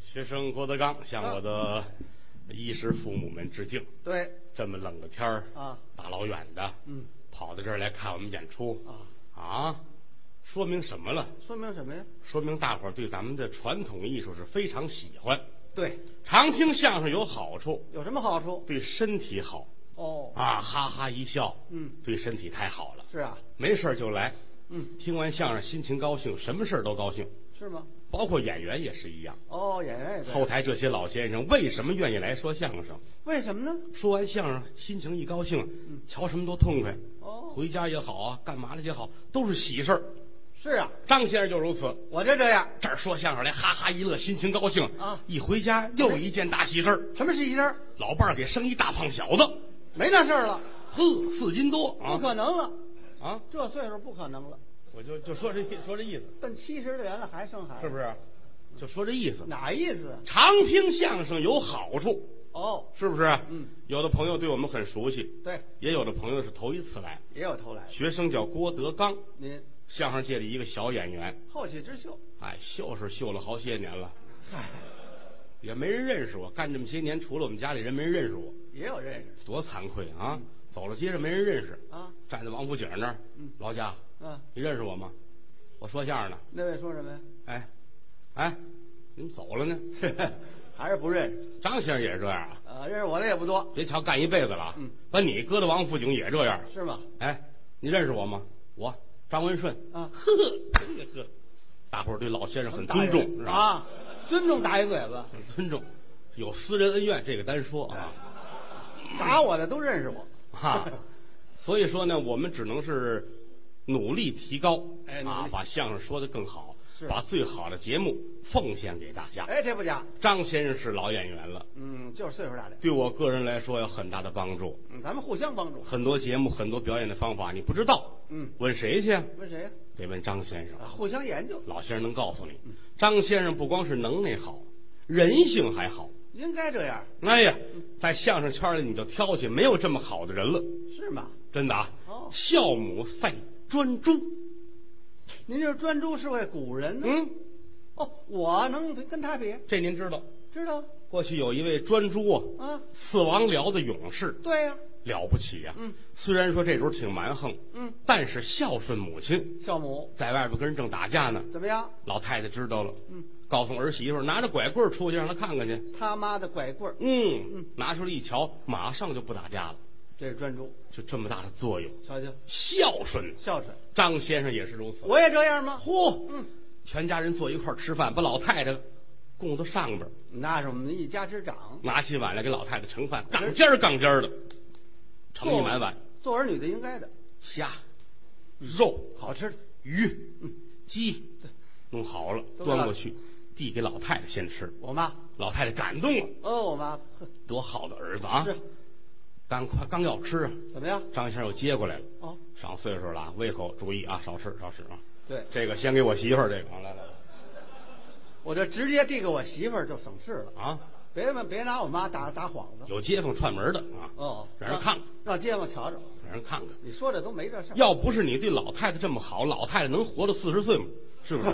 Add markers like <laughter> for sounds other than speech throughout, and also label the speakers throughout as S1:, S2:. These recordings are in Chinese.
S1: 学生郭德纲向我的衣食父母们致敬。
S2: 对，
S1: 这么冷的天儿
S2: 啊，
S1: 大老远的，
S2: 嗯，
S1: 跑到这儿来看我们演出
S2: 啊
S1: 啊，说明什么了？
S2: 说明什么呀？
S1: 说明大伙儿对咱们的传统艺术是非常喜欢，
S2: 对，
S1: 常听相声有好处，
S2: 有什么好处？
S1: 对身体好
S2: 哦，
S1: 啊，哈哈一笑，
S2: 嗯，
S1: 对身体太好了。
S2: 是啊，
S1: 没事儿就来，
S2: 嗯，
S1: 听完相声心情高兴，什么事儿都高兴，
S2: 是吗？
S1: 包括演员也是一样。
S2: 哦，演员也这样
S1: 后台这些老先生为什么愿意来说相声？
S2: 为什么呢？
S1: 说完相声，心情一高
S2: 嗯
S1: 兴，瞧什么都痛快，
S2: 哦，
S1: 回家也好啊，干嘛了也好，都是喜事儿。
S2: 是啊，
S1: 张先生就如此，
S2: 我就这样。
S1: 这儿说相声来，哈哈一乐，心情高兴
S2: 啊
S1: 一回家又一件大喜事儿，
S2: 什么是一人？
S1: 老伴儿给生一大胖小子，
S2: 没那事儿了，
S1: 呵，四斤多
S2: 不
S1: 啊
S2: 可能了，
S1: 啊！
S2: 这岁数不可能了，
S1: 我就就说这意说这意思，
S2: 奔七十的人了还生孩子，
S1: 是不是？就说这意思。
S2: 哪意思啊？
S1: 常听相声有好处，
S2: 哦，
S1: 是不是？
S2: 嗯，
S1: 有的朋友对我们很熟悉，
S2: 对，
S1: 也有的朋友是头一次来。
S2: 也有投来的。
S1: 学生叫郭德纲，
S2: 您
S1: 相声界里一个小演员，
S2: 后起之秀， <laughs>
S1: 哎，秀是秀了好些年了，
S2: 嗨，
S1: 也没人认识我。干这么些年，除了我们家里人，没人认识我，
S2: 也有认识
S1: 多惭愧啊！
S2: 嗯
S1: 走了街上没人认识，
S2: 啊。
S1: 站在王府井那儿，
S2: 嗯
S1: 老贾，
S2: 嗯，
S1: 你认识我吗？我说相声呢，
S2: 那位说什么呀？
S1: 哎，哎，你们走了呢？ <laughs>
S2: <laughs> 还是不认识？
S1: 张先生也是这样啊，
S2: 呃，认识我的也不多，
S1: 别瞧干一辈子了啊，
S2: 嗯
S1: 把你搁到王府井也这样。
S2: 是吗？
S1: 哎，你认识我吗？我张文顺。
S2: 啊
S1: 呵呵呵，大伙儿对老先生很尊重，是吧？
S2: 啊，尊重打一嘴巴，
S1: 很尊重，有私人恩怨这个单说
S2: 哎
S1: 啊
S2: 打我的都认识我。
S1: <laughs> 啊，所以说呢，我们只能是努力提高，
S2: 哎努力
S1: 啊，把相声说得更好，
S2: 是
S1: 把最好的节目奉献给大家。
S2: 哎，这不假，
S1: 张先生是老演员了，
S2: 嗯，就是岁数大点，
S1: 对我个人来说有很大的帮助。
S2: 嗯，咱们互相帮助。
S1: 很多节目、很多表演的方法你不知道，
S2: 嗯，
S1: 问谁去啊？
S2: 问谁呀、
S1: 得问张先生。
S2: 啊？互相研究，
S1: 老先生能告诉你，张先生不光是能耐好，人性还好。
S2: 应该这样，
S1: 哎呀，在相声圈里你就挑去，没有这么好的人了，
S2: 是吗？
S1: 真的啊！
S2: 哦
S1: 孝母赛专诸，
S2: 您这专诸是位古人呢。
S1: 嗯，
S2: 哦，我能跟他比，
S1: 这您知道。
S2: 知道
S1: 过去有一位专诸啊，
S2: 啊？
S1: 刺王僚的勇士，
S2: 对呀、
S1: 了不起呀、啊
S2: 嗯，
S1: 虽然说这时候挺蛮横，
S2: 嗯，
S1: 但是孝顺母亲，
S2: 孝母
S1: 在外边跟人正打架呢，
S2: 怎么样？
S1: 老太太知道了，
S2: 嗯，
S1: 告诉儿媳妇儿拿着拐棍儿出去让她看看去。
S2: 他妈的拐棍儿，
S1: 嗯，拿出来一瞧，马上就不打架了，
S2: 这是专诸，
S1: 就这么大的作用，
S2: 瞧瞧，
S1: 孝顺。
S2: 孝顺。
S1: 张先生也是如此。
S2: 我也这样吗？
S1: 嚯，
S2: 嗯，
S1: 全家人坐一块儿吃饭，把老太太供到上边儿，
S2: 那是我们一家之长，
S1: 拿起碗来给老太太盛饭，杠尖儿杠尖儿的，盛一满碗，
S2: 做儿女的应该的，
S1: 虾、肉、
S2: 好吃的。
S1: 鱼、鸡，弄好了
S2: 都
S1: 端
S2: 给
S1: 过
S2: 老
S1: 去，递给老太太先吃。
S2: 我妈，
S1: 老太太感动了，
S2: 哦，我妈呵
S1: 多好的儿子啊！
S2: 是
S1: 刚快刚要吃啊，
S2: 怎么样？
S1: 张先生又接过来了。
S2: 哦，
S1: 上岁数了啊，胃口注意啊，少吃少吃啊。
S2: 对，
S1: 这个先给我媳妇儿，这个啊，来来来
S2: 我这直接递给我媳妇儿就省事了，
S1: 啊，
S2: 别问，别拿我妈打打幌子。
S1: 有街坊串门的啊，
S2: 哦，
S1: 让人看看，
S2: 让街坊瞧瞧。
S1: 让人看看。
S2: 你说这都没这事
S1: <laughs>
S2: 儿，
S1: 要不是你对老太太这么好，老太太能活到四十岁吗？是不
S2: <laughs>
S1: 是？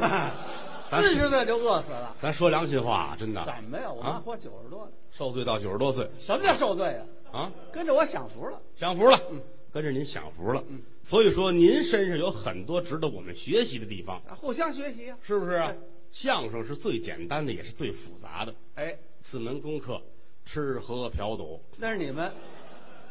S1: 咱
S2: 四十岁就饿死了。
S1: 咱说良心话啊，真的。
S2: 什么呀？我妈
S1: 啊，
S2: 活九十多了，
S1: 受罪到九十多岁
S2: 什么叫受罪啊？
S1: 啊，
S2: 跟着我享福了。
S1: 享福了，
S2: 嗯
S1: 跟着您享福了。所以说，您身上有很多值得我们学习的地方，
S2: 啊，互相学习啊！
S1: 是不是啊
S2: 对？
S1: 相声是最简单的，也是最复杂的。
S2: 哎，
S1: 四门功课：吃喝嫖赌。
S2: 那是你们，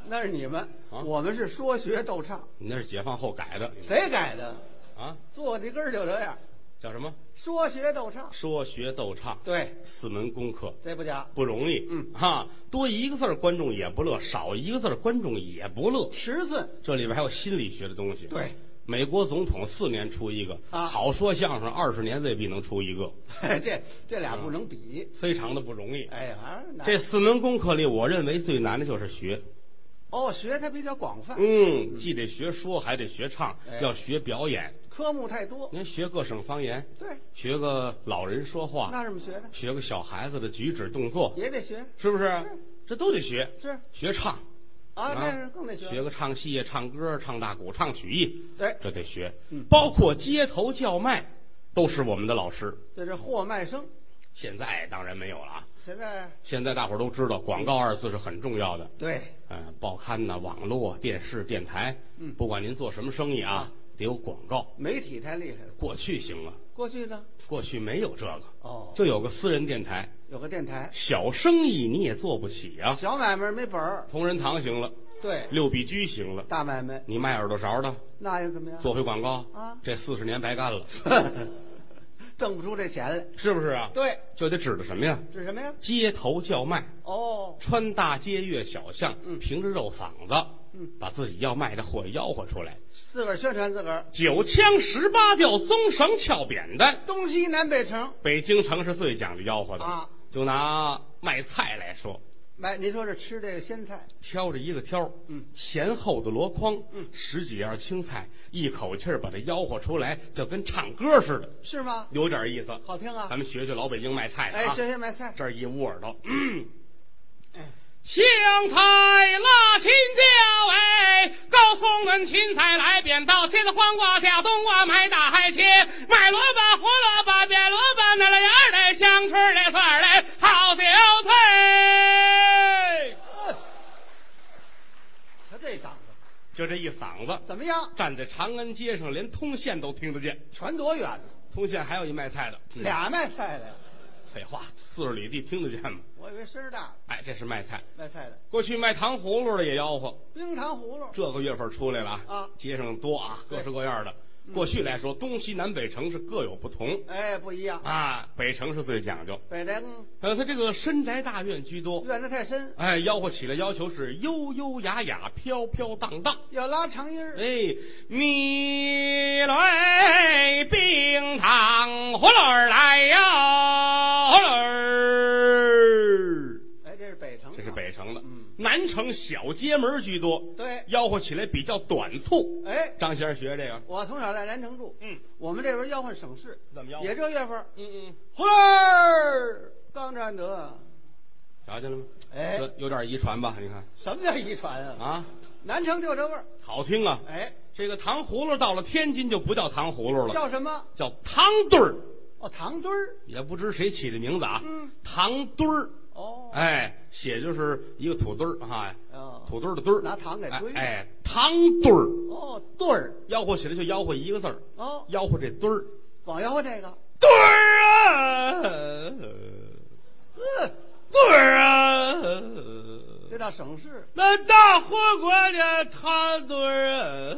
S2: 那是你们，
S1: 啊
S2: 我们是说学逗唱，
S1: 你那是解放后改的
S2: 谁改的？
S1: 啊？
S2: 坐地根儿就这样，
S1: 叫什么？
S2: 说学逗唱。
S1: 说学逗唱，
S2: 对，
S1: 四门功课
S2: 这不假，
S1: 不容易。
S2: 嗯
S1: 哈，多一个字儿观众也不乐，少一个字儿观众也不乐。
S2: 尺寸 <laughs>
S1: 这里边还有心理学的东西。
S2: 对，
S1: 美国总统四年出一个，
S2: 啊
S1: 好说相声二十年未必能出一个，
S2: 这这俩不能比。
S1: 非常的不容易。
S2: 哎，反正哪
S1: 这四门功课里，我认为最难的就是学。
S2: 哦，学它比较广泛，
S1: 嗯，既得学说，还得学唱，
S2: 哎
S1: 要学表演。
S2: 科目太多。
S1: 您学各省方言，
S2: 对，
S1: 学个老人说话，
S2: 那怎么学的？
S1: 学个小孩子的举止动作，
S2: 也得学，
S1: 是不是？
S2: 嗯
S1: 这都得学，
S2: 是
S1: 学唱，
S2: 啊，那是更得
S1: 学个唱戏呀、啊唱歌、唱大鼓、唱曲艺，
S2: 对
S1: 这得学
S2: 嗯。
S1: 包括街头叫卖，都是我们的老师。
S2: 这是货卖声，
S1: 现在当然没有了啊。
S2: 现在
S1: 现在大伙儿都知道，广告二字是很重要的。
S2: 对
S1: 嗯，报刊呐、网络、啊电视、电台，
S2: 嗯
S1: 不管您做什么生意啊，得有广告。
S2: 媒体太厉害了。
S1: 过去行吗？
S2: 过去呢，
S1: 过去没有这个，
S2: 哦，
S1: 就有个私人电台，
S2: 有个电台，
S1: 小生意你也做不起啊。
S2: 小买卖没本儿，
S1: 同仁堂行了，
S2: 对，
S1: 六必居行了，
S2: 大买卖
S1: 你卖耳朵勺的
S2: 那又怎么样？
S1: 做回广告
S2: 啊
S1: 这四十年白干了，
S2: <laughs>
S1: <laughs>
S2: 挣不出这钱来。
S1: 是不是啊？，
S2: 对，
S1: 就得指着什么呀？
S2: 这是什么呀？
S1: 街头叫卖，
S2: 哦，
S1: 穿大街越小巷，
S2: 嗯
S1: 凭着肉嗓子，
S2: 嗯
S1: 把自己要卖的货吆喝出来。
S2: 自个儿宣传自个儿，
S1: 九腔十八调，棕绳翘扁担。
S2: 东西南北城
S1: 北京城是最讲究吆喝的
S2: 啊。
S1: 就拿卖菜来说，
S2: 买，您说这吃这个鲜菜，
S1: 挑着一个挑，
S2: 嗯
S1: 前后的箩筐，
S2: 嗯
S1: 十几样青菜，一口气儿把它吆喝出来，就跟唱歌似的，
S2: 是吗？
S1: 有点意思。
S2: 好听啊
S1: 咱！们学学老北京卖菜的
S2: 哎，
S1: 嗯啊，
S2: 学学买菜，
S1: 这儿一捂耳朵，嗯
S2: 哎，
S1: 香菜、辣青椒，哎，高松嫩芹菜来扁豆，茄子、黄瓜、小冬瓜，买大海切，买萝卜、胡萝卜、扁萝卜，那了芽儿嘞，香椿儿嘞，蒜儿嘞，好韭菜。
S2: 他嗯这嗓子
S1: 就这一嗓子，
S2: 怎么样？
S1: 站在长安街上，连通县都听得见。
S2: 传多远呢？
S1: 通县还有一卖菜的，嗯
S2: 俩卖菜的，
S1: 废话，四十里地听得见吗？
S2: 我以为声儿大，
S1: 哎，这是卖菜。
S2: 卖菜的
S1: 过去卖糖葫芦的也吆喝，
S2: 冰糖葫芦，
S1: 这个月份出来了
S2: 啊嗯
S1: 街上多啊，各式各样的。过去来说，东西南北城是各有不同
S2: 哎，不一样。
S1: 啊，北城是最讲究。
S2: 北城
S1: 呃，它这个深宅大院居多，
S2: 院子太深，
S1: 哎，吆喝起来要求是悠悠雅雅、飘飘荡荡。
S2: 要拉长音儿，
S1: 哎，米来冰糖葫芦儿来哟，葫芦儿。
S2: 哎，这是北城，
S1: 这是，北城的，
S2: 嗯
S1: 南城小街门居多，
S2: 对
S1: 吆喝起来比较短促。
S2: 哎，
S1: 张先生学这个，
S2: 我从小在南城住，
S1: 嗯，
S2: 我们这边吆喝省市，
S1: 怎么吆喝
S2: 也这月份儿，
S1: 嗯嗯，
S2: 葫芦儿刚占得，
S1: 瞧见了吗？
S2: 哎
S1: 这有点遗传吧？你看
S2: 什么叫遗传啊？
S1: 嗯啊，
S2: 南城就这味儿，
S1: 好听啊！
S2: 哎，
S1: 这个糖葫芦到了天津就不叫糖葫芦了，
S2: 叫什么？
S1: 叫糖墩儿，
S2: 哦，糖墩儿，
S1: 也不知谁起的名字啊。
S2: 嗯，
S1: 糖墩儿，
S2: 哦，
S1: 哎，写就是一个土墩儿啊，
S2: 哦
S1: 土墩儿的墩儿，
S2: 拿糖给堆
S1: 哎，哎糖墩儿，
S2: 哦，墩儿，
S1: 吆喝起来就吆喝一个字儿，
S2: 哦，
S1: 吆喝这墩儿，
S2: 光吆喝这个，
S1: 墩儿啊，
S2: 嗯，
S1: 墩儿啊。
S2: 这叫省市，
S1: 那大火锅的汤墩儿啊！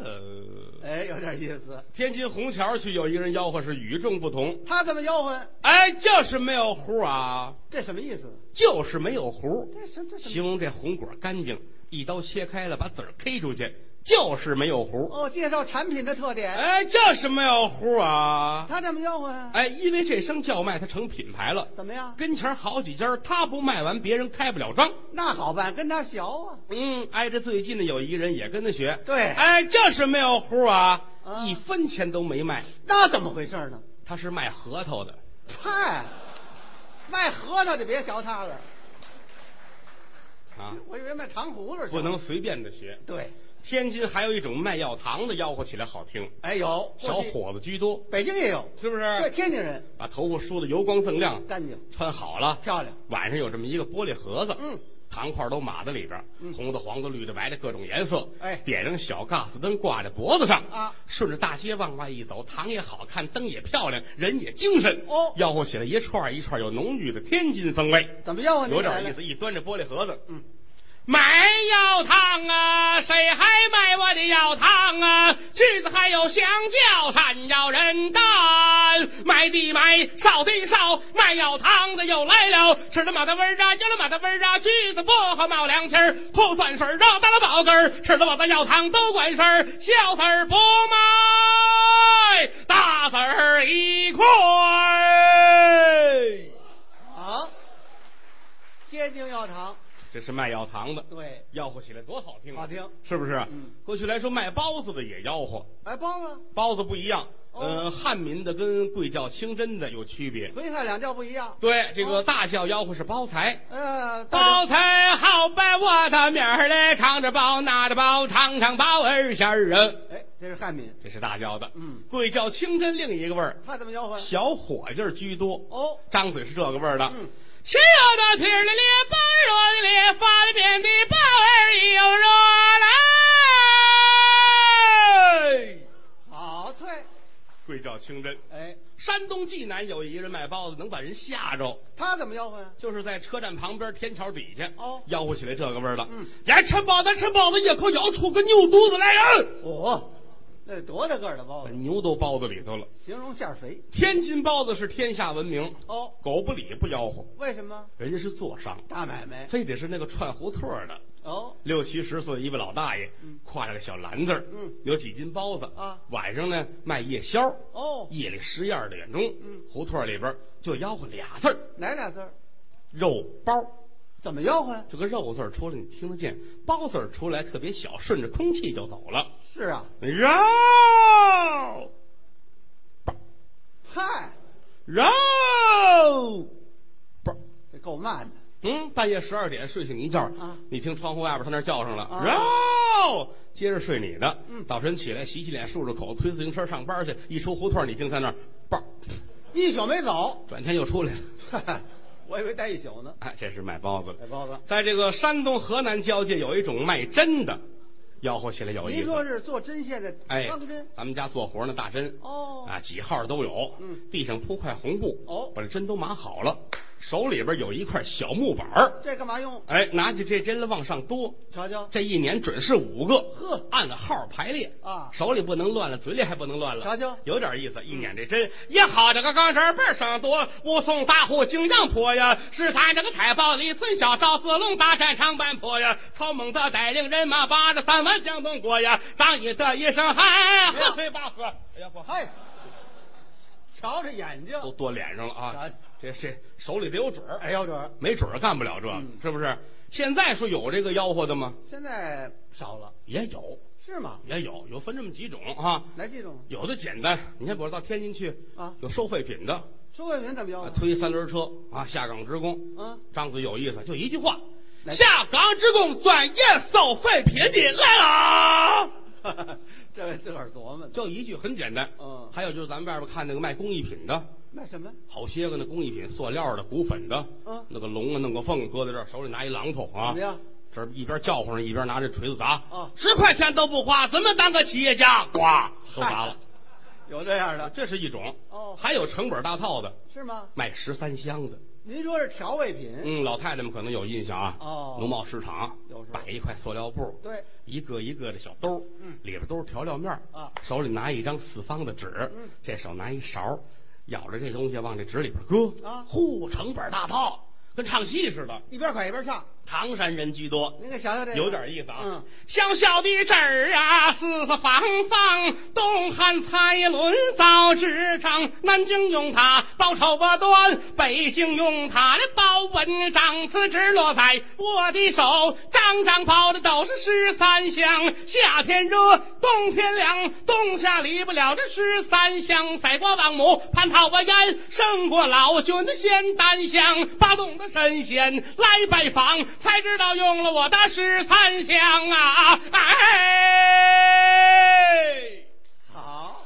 S2: 哎，有点意思。
S1: 天津虹桥区有一个人吆喝是与众不同，
S2: 他怎么吆喝？
S1: 哎，就是没有糊啊，
S2: 这什么意思？
S1: 就是没有糊，
S2: 这什这什么？
S1: 形容这红果干净，一刀切开了把籽儿 K 出去，就是没有糊，
S2: 哦，介绍产品的特点。
S1: 哎，就是没有糊啊，
S2: 他这么吆喝呀？
S1: 哎，因为这声叫卖它成品牌了，
S2: 怎么样？
S1: 跟前儿好几家儿，他不卖完别人开不了张。
S2: 那好办，跟他学啊。
S1: 嗯，挨着最近的有一个人也跟他学，
S2: 对
S1: 哎，就是没有糊啊，
S2: 啊
S1: 一分钱都没卖，
S2: 那怎么回事呢？
S1: 他是卖核桃的，
S2: 嗨，卖核桃的别学他了。
S1: 啊，
S2: 我以为卖糖葫芦去
S1: 不能随便的学。
S2: 对，
S1: 天津还有一种卖药糖的，吆喝起来好听，
S2: 哎，有
S1: 小
S2: 过去
S1: 伙子哎居多，
S2: 北京也有，
S1: 是不
S2: 对，
S1: 是？
S2: 天津人
S1: 把头发梳得油光锃亮，
S2: 干净
S1: 穿好了，
S2: 漂亮。
S1: 晚上有这么一个玻璃盒子，
S2: 嗯，
S1: 糖块都码在里边儿，红的、黄的、绿的、白的，各种颜色。
S2: 哎
S1: 点上小 gas 灯挂在脖子上
S2: 啊，
S1: 顺着大街往外一走，糖也好看，灯也漂亮，人也精神。
S2: 哦
S1: 吆喝起来一串儿一串儿有浓郁的天津风味，
S2: 怎么吆喝？
S1: 有点意。思。一端着玻璃盒子，
S2: 嗯。
S1: 买药糖啊，谁还买我的药糖啊？橘子还有香蕉，闪耀人蛋。买的买，少的少，卖药糖的又来了。吃了马的味儿啊，有了马的味儿啊，橘子薄荷冒凉气儿，吐酸水儿绕大了宝根儿。吃了我的药糖都管事儿，小子儿不卖，大子儿一块。
S2: 好，天津药糖，
S1: 这是卖药糖的。
S2: 对，
S1: 吆喝起来多好听、啊，
S2: 好听
S1: 是不是？
S2: 嗯
S1: 过去来说卖包子的也吆喝，
S2: 买包子，
S1: 包子不一样，
S2: 哦
S1: 呃，汉民的跟贵教清真的有区别。
S2: 回汉两教不一样。
S1: 对，这
S2: 哦
S1: 个大笑吆喝是包财。
S2: 呃，
S1: 包财好拜我的名儿嘞，尝着包拿着包，尝尝包儿馅儿啊！
S2: 哎，这是汉民，
S1: 这是大椒的。
S2: 嗯，
S1: 贵叫清真另一个味儿，
S2: 他怎么吆喝？
S1: 小伙计儿居多。
S2: 哦，
S1: 张嘴是这个味儿的。
S2: 嗯，
S1: 心有的体儿的咧，般若的咧，发了面的包儿一有热来。
S2: 好脆，
S1: 贵叫清真。
S2: 哎，
S1: 山东济南有一个人卖包子，能把人吓着，
S2: 他怎么吆喝呀？
S1: 就是在车站旁边天桥底下，
S2: 哦
S1: 吆喝起来这个味儿了。
S2: 嗯，
S1: 来吃包子，吃包子，一口咬出个牛犊子来人，
S2: 哦，那得多大个儿的包
S1: 把
S2: 子，
S1: 牛都包子里头了。
S2: 形容馅儿肥。
S1: 天津包子是天下闻名，
S2: 哦，
S1: 狗不理不吆喝，
S2: 为什么？
S1: 人家是做商，
S2: 大买卖。
S1: 非得是那个串胡同儿的。
S2: 哦，
S1: 六七十岁一位老大爷，挎着个小篮子儿，
S2: 嗯
S1: 有几斤包子
S2: 啊
S1: 晚上呢卖夜宵，
S2: 哦，
S1: 夜里十一二点钟，
S2: 嗯
S1: 胡同里边儿就吆喝俩字儿
S2: 哪俩字儿？
S1: “肉包
S2: 怎么吆喝呀”，？
S1: 这个“肉”字儿出来你听得见，“包”字儿出来特别小，顺着空气就走了。
S2: 是啊，
S1: 肉
S2: 嗨，
S1: 肉包，
S2: 这够慢的。
S1: 嗯，半夜十二点睡醒一觉
S2: 啊
S1: 你听窗户外边他那叫上了
S2: 啊
S1: 肉，接着睡你的。
S2: 嗯
S1: 早晨起来洗洗脸，漱漱口，推自行车上班去。一出胡同，你听他那儿叭，
S2: 一宿没走，
S1: 转天又出来了。
S2: 哈哈， <laughs> 我以为待一宿呢。
S1: 哎，这是卖包子的。
S2: 买包子，
S1: 在这个山东河南交界，有一种卖针的，吆喝起来有意
S2: 您说
S1: 思。
S2: 是做针线的
S1: 哎
S2: 钢针？，
S1: 咱们家做活呢，大针
S2: 哦
S1: 啊，几号都有。
S2: 嗯，
S1: 地上铺块红布，
S2: 哦
S1: 把这针都码好了，手里边有一块小木板儿，
S2: 这干嘛用？
S1: 哎，拿起这针来往上多，
S2: 瞧瞧，
S1: 这一年准是五个，
S2: 呵
S1: 按着号排列
S2: 啊
S1: 手里不能乱了，嘴里还不能乱了，
S2: 瞧瞧
S1: 有点意思。一捻这针，也好这个钢针倍儿上多，武松大户景阳坡呀，是咱这个太保李存孝赵子龙大战长坂坡呀，曹猛子带领人马把这三万江东过呀，张翼德一声喊，喝吹八喝，哎呀我
S2: 嗨，瞧这眼睛，
S1: 都多脸上了啊
S2: 啊，
S1: 这这手里得有准儿，
S2: 哎呦这
S1: 没准儿干不了这个，
S2: 嗯
S1: 是不是？现在说有这个吆喝的吗？
S2: 现在少了
S1: 也有，
S2: 是吗？
S1: 也有，有分这么几种啊。
S2: 来这种
S1: 有的简单，你看，比如到天津去
S2: 啊哦
S1: 有收废品的，
S2: 收费员怎么吆
S1: 啊
S2: 喝？
S1: 推三轮车啊，下岗职工，
S2: 啊，
S1: 张嘴有意思，就一句话：
S2: 哪句
S1: 下岗职工转业收废品的来了，
S2: 啊 <laughs> 这位自个儿琢磨呢，
S1: 就一句，很简单。
S2: 嗯
S1: 还有就是咱们外边看那个卖工艺品的，
S2: 卖什么？
S1: 好些个那工艺品，塑料的、骨粉的，
S2: 嗯
S1: 那个龙啊，弄个凤，搁在这儿，手里拿一榔头啊
S2: 怎么，样？
S1: 这儿一边叫唤着，一边拿着锤子砸，
S2: 啊
S1: 十块钱都不花，怎么当个企业家？呱，都砸了，
S2: 有这样的
S1: 这是一种。
S2: 哦
S1: 还有成本大套的，
S2: 是吗？
S1: 卖十三香的。
S2: 您说是调味品？
S1: 嗯，老太太们可能有印象啊。
S2: 哦
S1: 农贸市场
S2: 有时候
S1: 摆一块塑料布，
S2: 对，
S1: 一个一个的小兜，
S2: 嗯，
S1: 里边都是调料面儿
S2: 啊
S1: 手里拿一张四方的纸，
S2: 嗯，
S1: 这手拿一勺，舀着这东西往这纸里边搁
S2: 啊
S1: 呼，成本大套，跟唱戏似的。
S2: 一边快一边唱，
S1: 唐山人居多，
S2: 您给瞧瞧这个，
S1: 哦有点意思啊！
S2: 嗯，
S1: 小小的纸儿啊，四四方方，东汉蔡伦造纸张，南京用它包绸布缎，北京用它来包文章。此纸落在我的手，张张包的都是十三香。夏天热，冬天凉，冬夏离不了这十三香。赛过王母，蟠桃花宴，胜过老君的仙丹香。八洞的神仙来拜访，才知道用了我的十三香啊！哎，
S2: 好，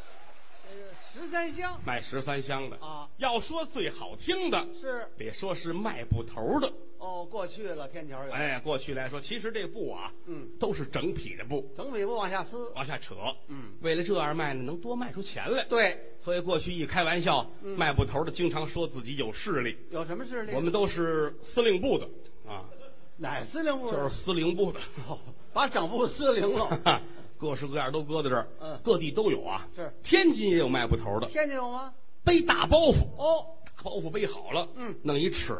S2: 这是十三香
S1: 卖十三香的
S2: 啊，
S1: 要说最好听的，
S2: 是
S1: 得说是卖布头的。
S2: 哦，过去了天桥有，
S1: 哎，过去来说，其实这布啊，
S2: 嗯，
S1: 都是整匹的布，
S2: 整匹布往下撕，
S1: 往下扯。
S2: 嗯，
S1: 为了这样卖呢，能多卖出钱来。
S2: 对，
S1: 所以过去一开玩笑，
S2: 嗯
S1: 卖布头的经常说自己有势力。
S2: 有什么势力？
S1: 我们都是司令部的啊，
S2: 哪儿司令部？
S1: 就是司令部的， <laughs>
S2: 哦把整部司令了。
S1: 各式各样都搁在这儿，
S2: 嗯
S1: 各地都有啊。
S2: 是
S1: 天津也有卖布头的，
S2: 天津有吗？
S1: 背大包袱，
S2: 哦，
S1: 大包袱背好了，
S2: 嗯
S1: 弄一尺，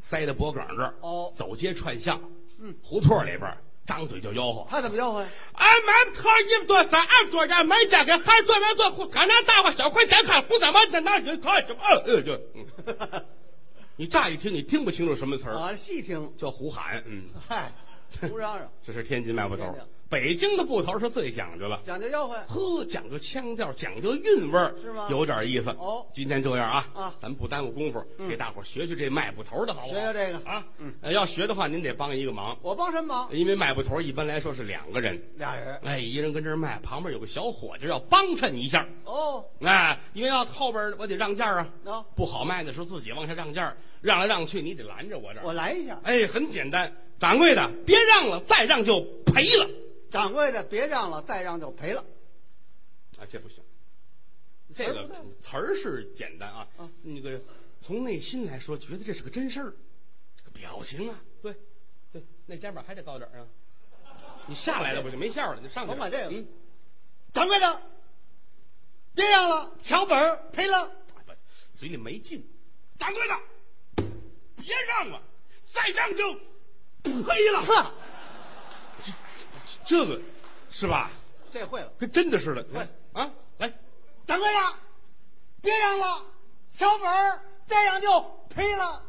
S1: 塞在脖梗这儿，
S2: 哦
S1: 走街串巷，
S2: 嗯，
S1: 胡同里边儿张嘴就吆喝，
S2: 他怎么吆喝呀？
S1: 俺馒头一多三二多人，买家跟孩做人做苦，他那大伙小块健康，不怎么的那人看什么？呃就，嗯你乍一听你听不清楚什么词儿，
S2: 啊，细听，
S1: 叫胡喊，嗯。 <laughs>
S2: 嗨，不嚷嚷，
S1: 这是天津卖布头
S2: 天津，
S1: 北京的布头是最讲究了，
S2: 讲究吆喝，
S1: 呵，讲究腔调，讲究韵味儿，
S2: 是吗
S1: 有点意思。
S2: 哦
S1: 今天这样啊，
S2: 啊
S1: 咱不耽误功夫，
S2: 嗯
S1: 给大伙儿学学这卖布头的好不好？
S2: 学学这个
S1: 啊，
S2: 嗯
S1: 呃要学的话，您得帮一个忙，
S2: 我帮什么忙？
S1: 因为卖布头一般来说是两个人，
S2: 俩人
S1: 哎，一人跟这儿卖，旁边有个小伙计要帮衬一下，
S2: 哦，
S1: 哎，因为要后边我得让价啊，
S2: 喏，
S1: 不好卖的时候自己往下让价，让来让去你得拦着我这儿。
S2: 我来一下。
S1: 哎，很简单，掌柜的，别让了，再让就赔了。
S2: 掌柜的，别让了，再让就赔了。
S1: 啊，这不行，这
S2: 词儿
S1: 个
S2: 不对
S1: 词儿是简单啊
S2: 啊，
S1: 那个从内心来说，觉得这是个真事儿，这个表情啊，对，对，那肩膀还得高点儿啊。你下来了我就没笑了，你上去吧。
S2: 甭管这个
S1: 嗯，
S2: 掌柜的，别让了，小本儿赔了。
S1: 哎不嘴里没劲。掌柜的，别让了，再让就呸了。
S2: 哼，
S1: 这个是吧？
S2: 这会了。
S1: 跟真的似的。
S2: 喂
S1: 啊，来，
S2: 掌柜
S1: 啊
S2: 的，别让了，小本儿再让就赔了。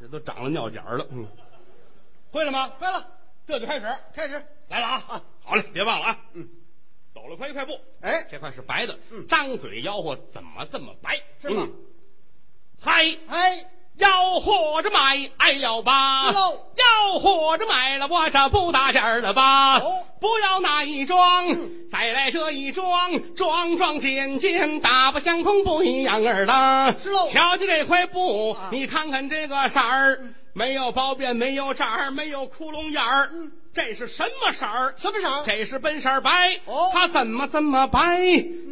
S1: 这都长了尿角了。嗯，会了吗？
S2: 赔了，
S1: 这就开始，
S2: 开始。
S1: 来了啊！
S2: 啊
S1: 好嘞，别忘了啊！
S2: 嗯，
S1: 抖了快一快步，
S2: 哎，
S1: 这块是白的，
S2: 嗯
S1: 张嘴吆喝怎么这么白？
S2: 是吗
S1: 嗯？猜
S2: 哎，
S1: 吆喝着买，哎了吧？
S2: 是喽
S1: 吆喝着买了，我这不打尖儿了吧？
S2: 哦
S1: 不要那一桩，
S2: 嗯
S1: 再来这一桩，桩桩件件打不相同，不一样儿的。
S2: 是喽
S1: 瞧瞧这块布，
S2: 啊
S1: 你看看这个色儿，没有包边，没有褶儿，没有窟窿眼儿，
S2: 嗯
S1: 这是什么色儿？
S2: 什么色儿？
S1: 这是本色儿白，
S2: 啊哦
S1: 它怎么这么白？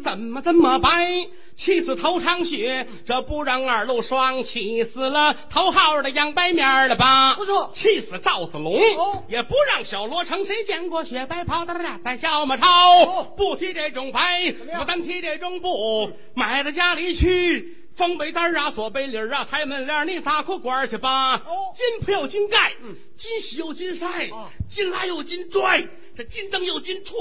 S1: 怎么这么白？气死头场雪，这不让二路霜，气死了头号的杨白面儿了吧？
S2: 不错
S1: 气死赵子龙，
S2: 哦
S1: 也不让小罗成。谁见过雪白袍的大胆小马超？
S2: 哦
S1: 不提这种白
S2: 么，样
S1: 我单提这种布，买到家里去。风背单儿啊，左背领儿啊，裁门帘儿，你打裤管儿去吧。
S2: 哦
S1: 金铺有金盖，
S2: 嗯
S1: 金喜有金塞，
S2: 哦
S1: 金拉又金拽，这金灯又金踹。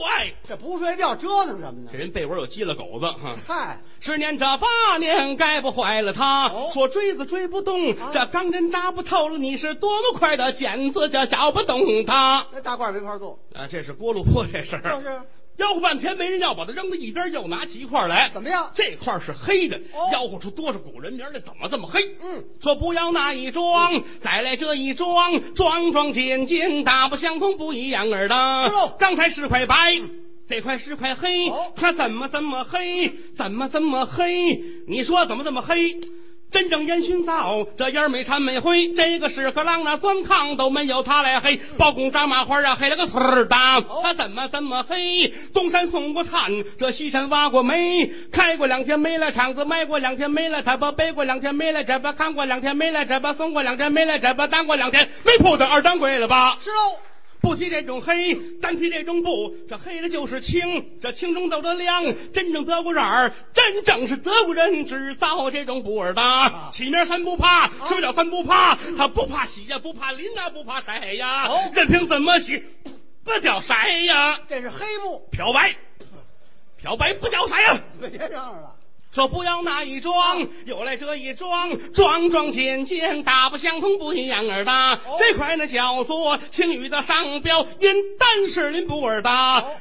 S2: 这不睡觉折腾什么
S1: 这
S2: 呢？
S1: 人被窝有鸡了狗子哈。
S2: 嗯嗨，
S1: 十年这八年，该不坏了他。
S2: 哦
S1: 说锥子锥不动，
S2: 啊
S1: 这钢针扎不透了。你是多么快的剪子，就绞不动它。
S2: 那大褂儿没法做，
S1: 啊，这是锅炉破这事
S2: 就
S1: 儿，
S2: 是
S1: 吆喝半天没人要，把它扔到一边，又拿起一块儿来。
S2: 怎么样？
S1: 这块儿是黑的，
S2: 哦
S1: 吆喝出多少古人名来？怎么这么黑？
S2: 嗯，
S1: 说不要那一桩，再来这一桩，桩桩件件大不相同，不一样儿
S2: 是喽
S1: 的。刚才是块白。这块是块黑
S2: 哦，
S1: 它怎么这么黑？怎么这么黑？你说怎么这么黑？真正烟熏灶，这烟儿没掺没灰。这个屎壳郎啊，钻炕都没有它来黑。包公张麻花啊，黑了个腿儿大。它怎么这么黑？东山送过炭，这西山挖过煤，开过两天没了厂子，卖过两天没了他吧，背过两天没了这吧，看过两天没了这吧，送过两天没了这吧，当过两天没铺的二掌柜了吧？
S2: 是喽。
S1: 不提这种黑，单提这种布，这黑的就是青，这青中透着亮。真正德国人儿，真正是德国人制造这种布尔的。起名三不怕，什么叫三不怕？他不怕洗呀，不怕淋呐，不怕晒呀
S2: 哦，
S1: 任凭怎么洗，不掉色呀。
S2: 这是黑布，
S1: 漂白，漂白不掉色呀。
S2: 别嚷嚷了。
S1: 说不要那一桩，有来这一桩，桩桩件件大不相同，不一样儿的。这块呢叫做青雨的商标，因单是林布尔的。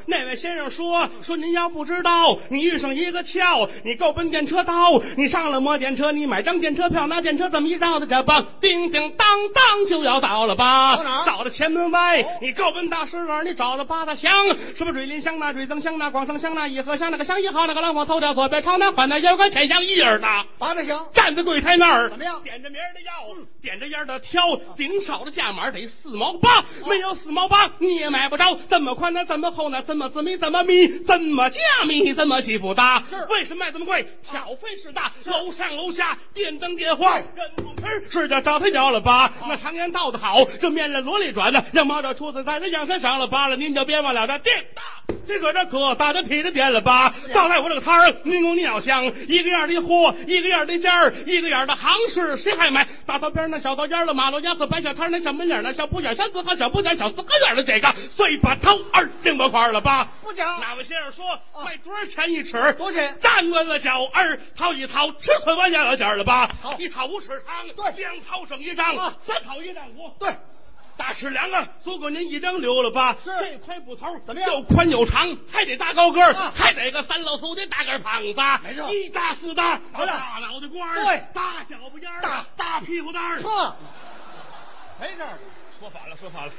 S1: 那位先生说说您要不知道，你遇上一个窍，你够奔电车道，你上了摩电车，你买张电车票，拿电车这么一绕的这吧，叮叮当当就要到了吧？
S2: 到
S1: <laughs>
S2: 哪儿
S1: 到了前门外，你够奔大石栏，你找到八大香，什么水林香那水增香那广生香那颐和香那个香一号那个浪我偷掉左边朝南缓南腰杆浅香一耳的。
S2: 拔的行，
S1: 站在柜台那儿，
S2: 怎么样
S1: 点着名儿的要，点着烟儿的挑，顶少的价码得四毛八，没有四毛八你也买不着。这么宽呢，这么厚呢，这么紫米，这么米，这么加米，这么起伏大
S2: 是。
S1: 为什么卖这么贵？挑费事大，楼上楼下电灯电话，人不吃，睡觉找他着了吧？那常言道的好，这面了罗里转的，让毛着出子带，那养生上了疤了，您就别忘了这电大。这个这可大着体的点了吧？到来我这个摊儿，您公你要香，一个样儿的货，一个样儿的尖儿，一个样儿的行市，谁还买？大道边儿那小道沿儿了，马路牙子摆小摊儿，那小门脸儿那小铺眼儿，小四合小铺店儿，小四合院儿的这个，碎把头二零多块儿了吧？
S2: 不讲
S1: 哪位先生说
S2: 哦
S1: 卖多少钱一尺？
S2: 多少钱
S1: 站官了小二掏一掏，吃损完家老钱儿了吧？
S2: 好
S1: 一掏五尺汤，
S2: 对
S1: 两掏整一丈
S2: 啊，
S1: 三掏一丈五，
S2: 对，
S1: 大尺量啊，足够您一张留了吧？
S2: 是
S1: 这块布头
S2: 怎么样
S1: 又宽又长，还得大高个儿，
S2: 啊
S1: 还得个三老头的大个儿膀子，
S2: 没错
S1: 一搭四搭，
S2: 好的
S1: 大脑袋瓜儿，
S2: 对
S1: 大脚巴烟儿，
S2: 大
S1: 大屁股蛋儿。
S2: 呵，没事儿，
S1: 说反了，说反了。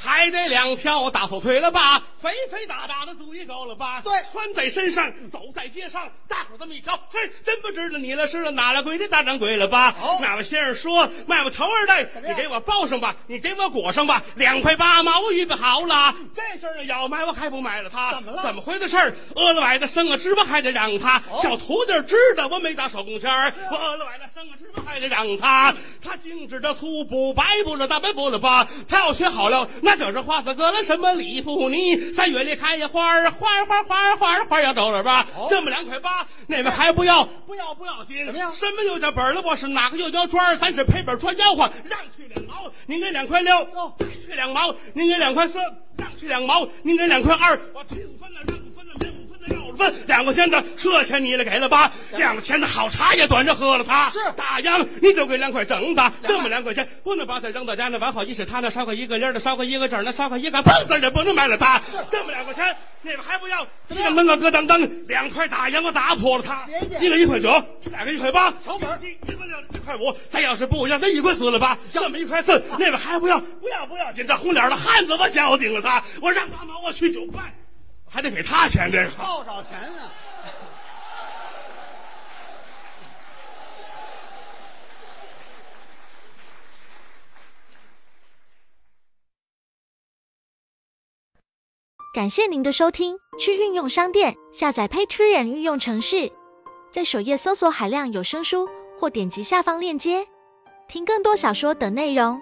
S1: 还得两条大手腿了吧，肥肥大大的足一高了吧？
S2: 对
S1: 穿在身上，走在街上，大伙儿这么一瞧，嘿，真不知道你了，是了哪了鬼的大掌柜了吧？
S2: 好
S1: 哪位先生说卖我头二代，
S2: 哦怎么
S1: 你
S2: 样
S1: 给我包上吧，你给我裹上吧，两块八毛我预备好了。这事儿呢要买我还不买了他？
S2: 怎么了
S1: 怎么回的事儿？饿了崴的生个芝麻还得让他，
S2: 哦
S1: 小徒弟知道我没打手工钱儿，我饿了崴的生个芝麻还得让他。他精致的粗补，白补了大白补了吧？他要学好了，那就是花子哥了什么李富尼，三月里开呀花儿，花儿花儿花儿花儿花儿要走了吧？
S2: 哦
S1: 这么两块八，那边还不要，不要不要紧。
S2: 怎么样
S1: 什么又叫本儿了？我是哪个又叫砖儿？咱是赔本儿穿吆喝，让去两毛，您给两块六，
S2: 哦
S1: 再去两毛，您给两块四，让去两毛，您给两块二。我去五分的，让五分的，给五分的，让五分，两块钱的，这钱你了给了吧？两块钱的好茶也短着喝了它。
S2: 是
S1: 大秧，你就给两块整的，这么两块钱不能把它扔到家那完好一使它那烧个一个零的，烧个一个整的，烧个一个棒子也不能买了它。这么两块钱，你们还不要？
S2: 么样
S1: 门个咯噔噔，两块大洋我打破了它。
S2: 别介
S1: 一个一块九，两个一块八，
S2: 成本儿
S1: 一块六，一块五。咱要是不要，这一块四了吧？这么一块四，那边还不要？不要不要紧，这红脸的汉子我叫顶了他，我让八毛，我去九块，还得给他钱这个。
S2: 多少钱啊呢？
S3: 感谢您的收听，去运用商店下载 Patreon 运用城市，在首页搜索海量有声书，或点击下方链接听更多小说等内容。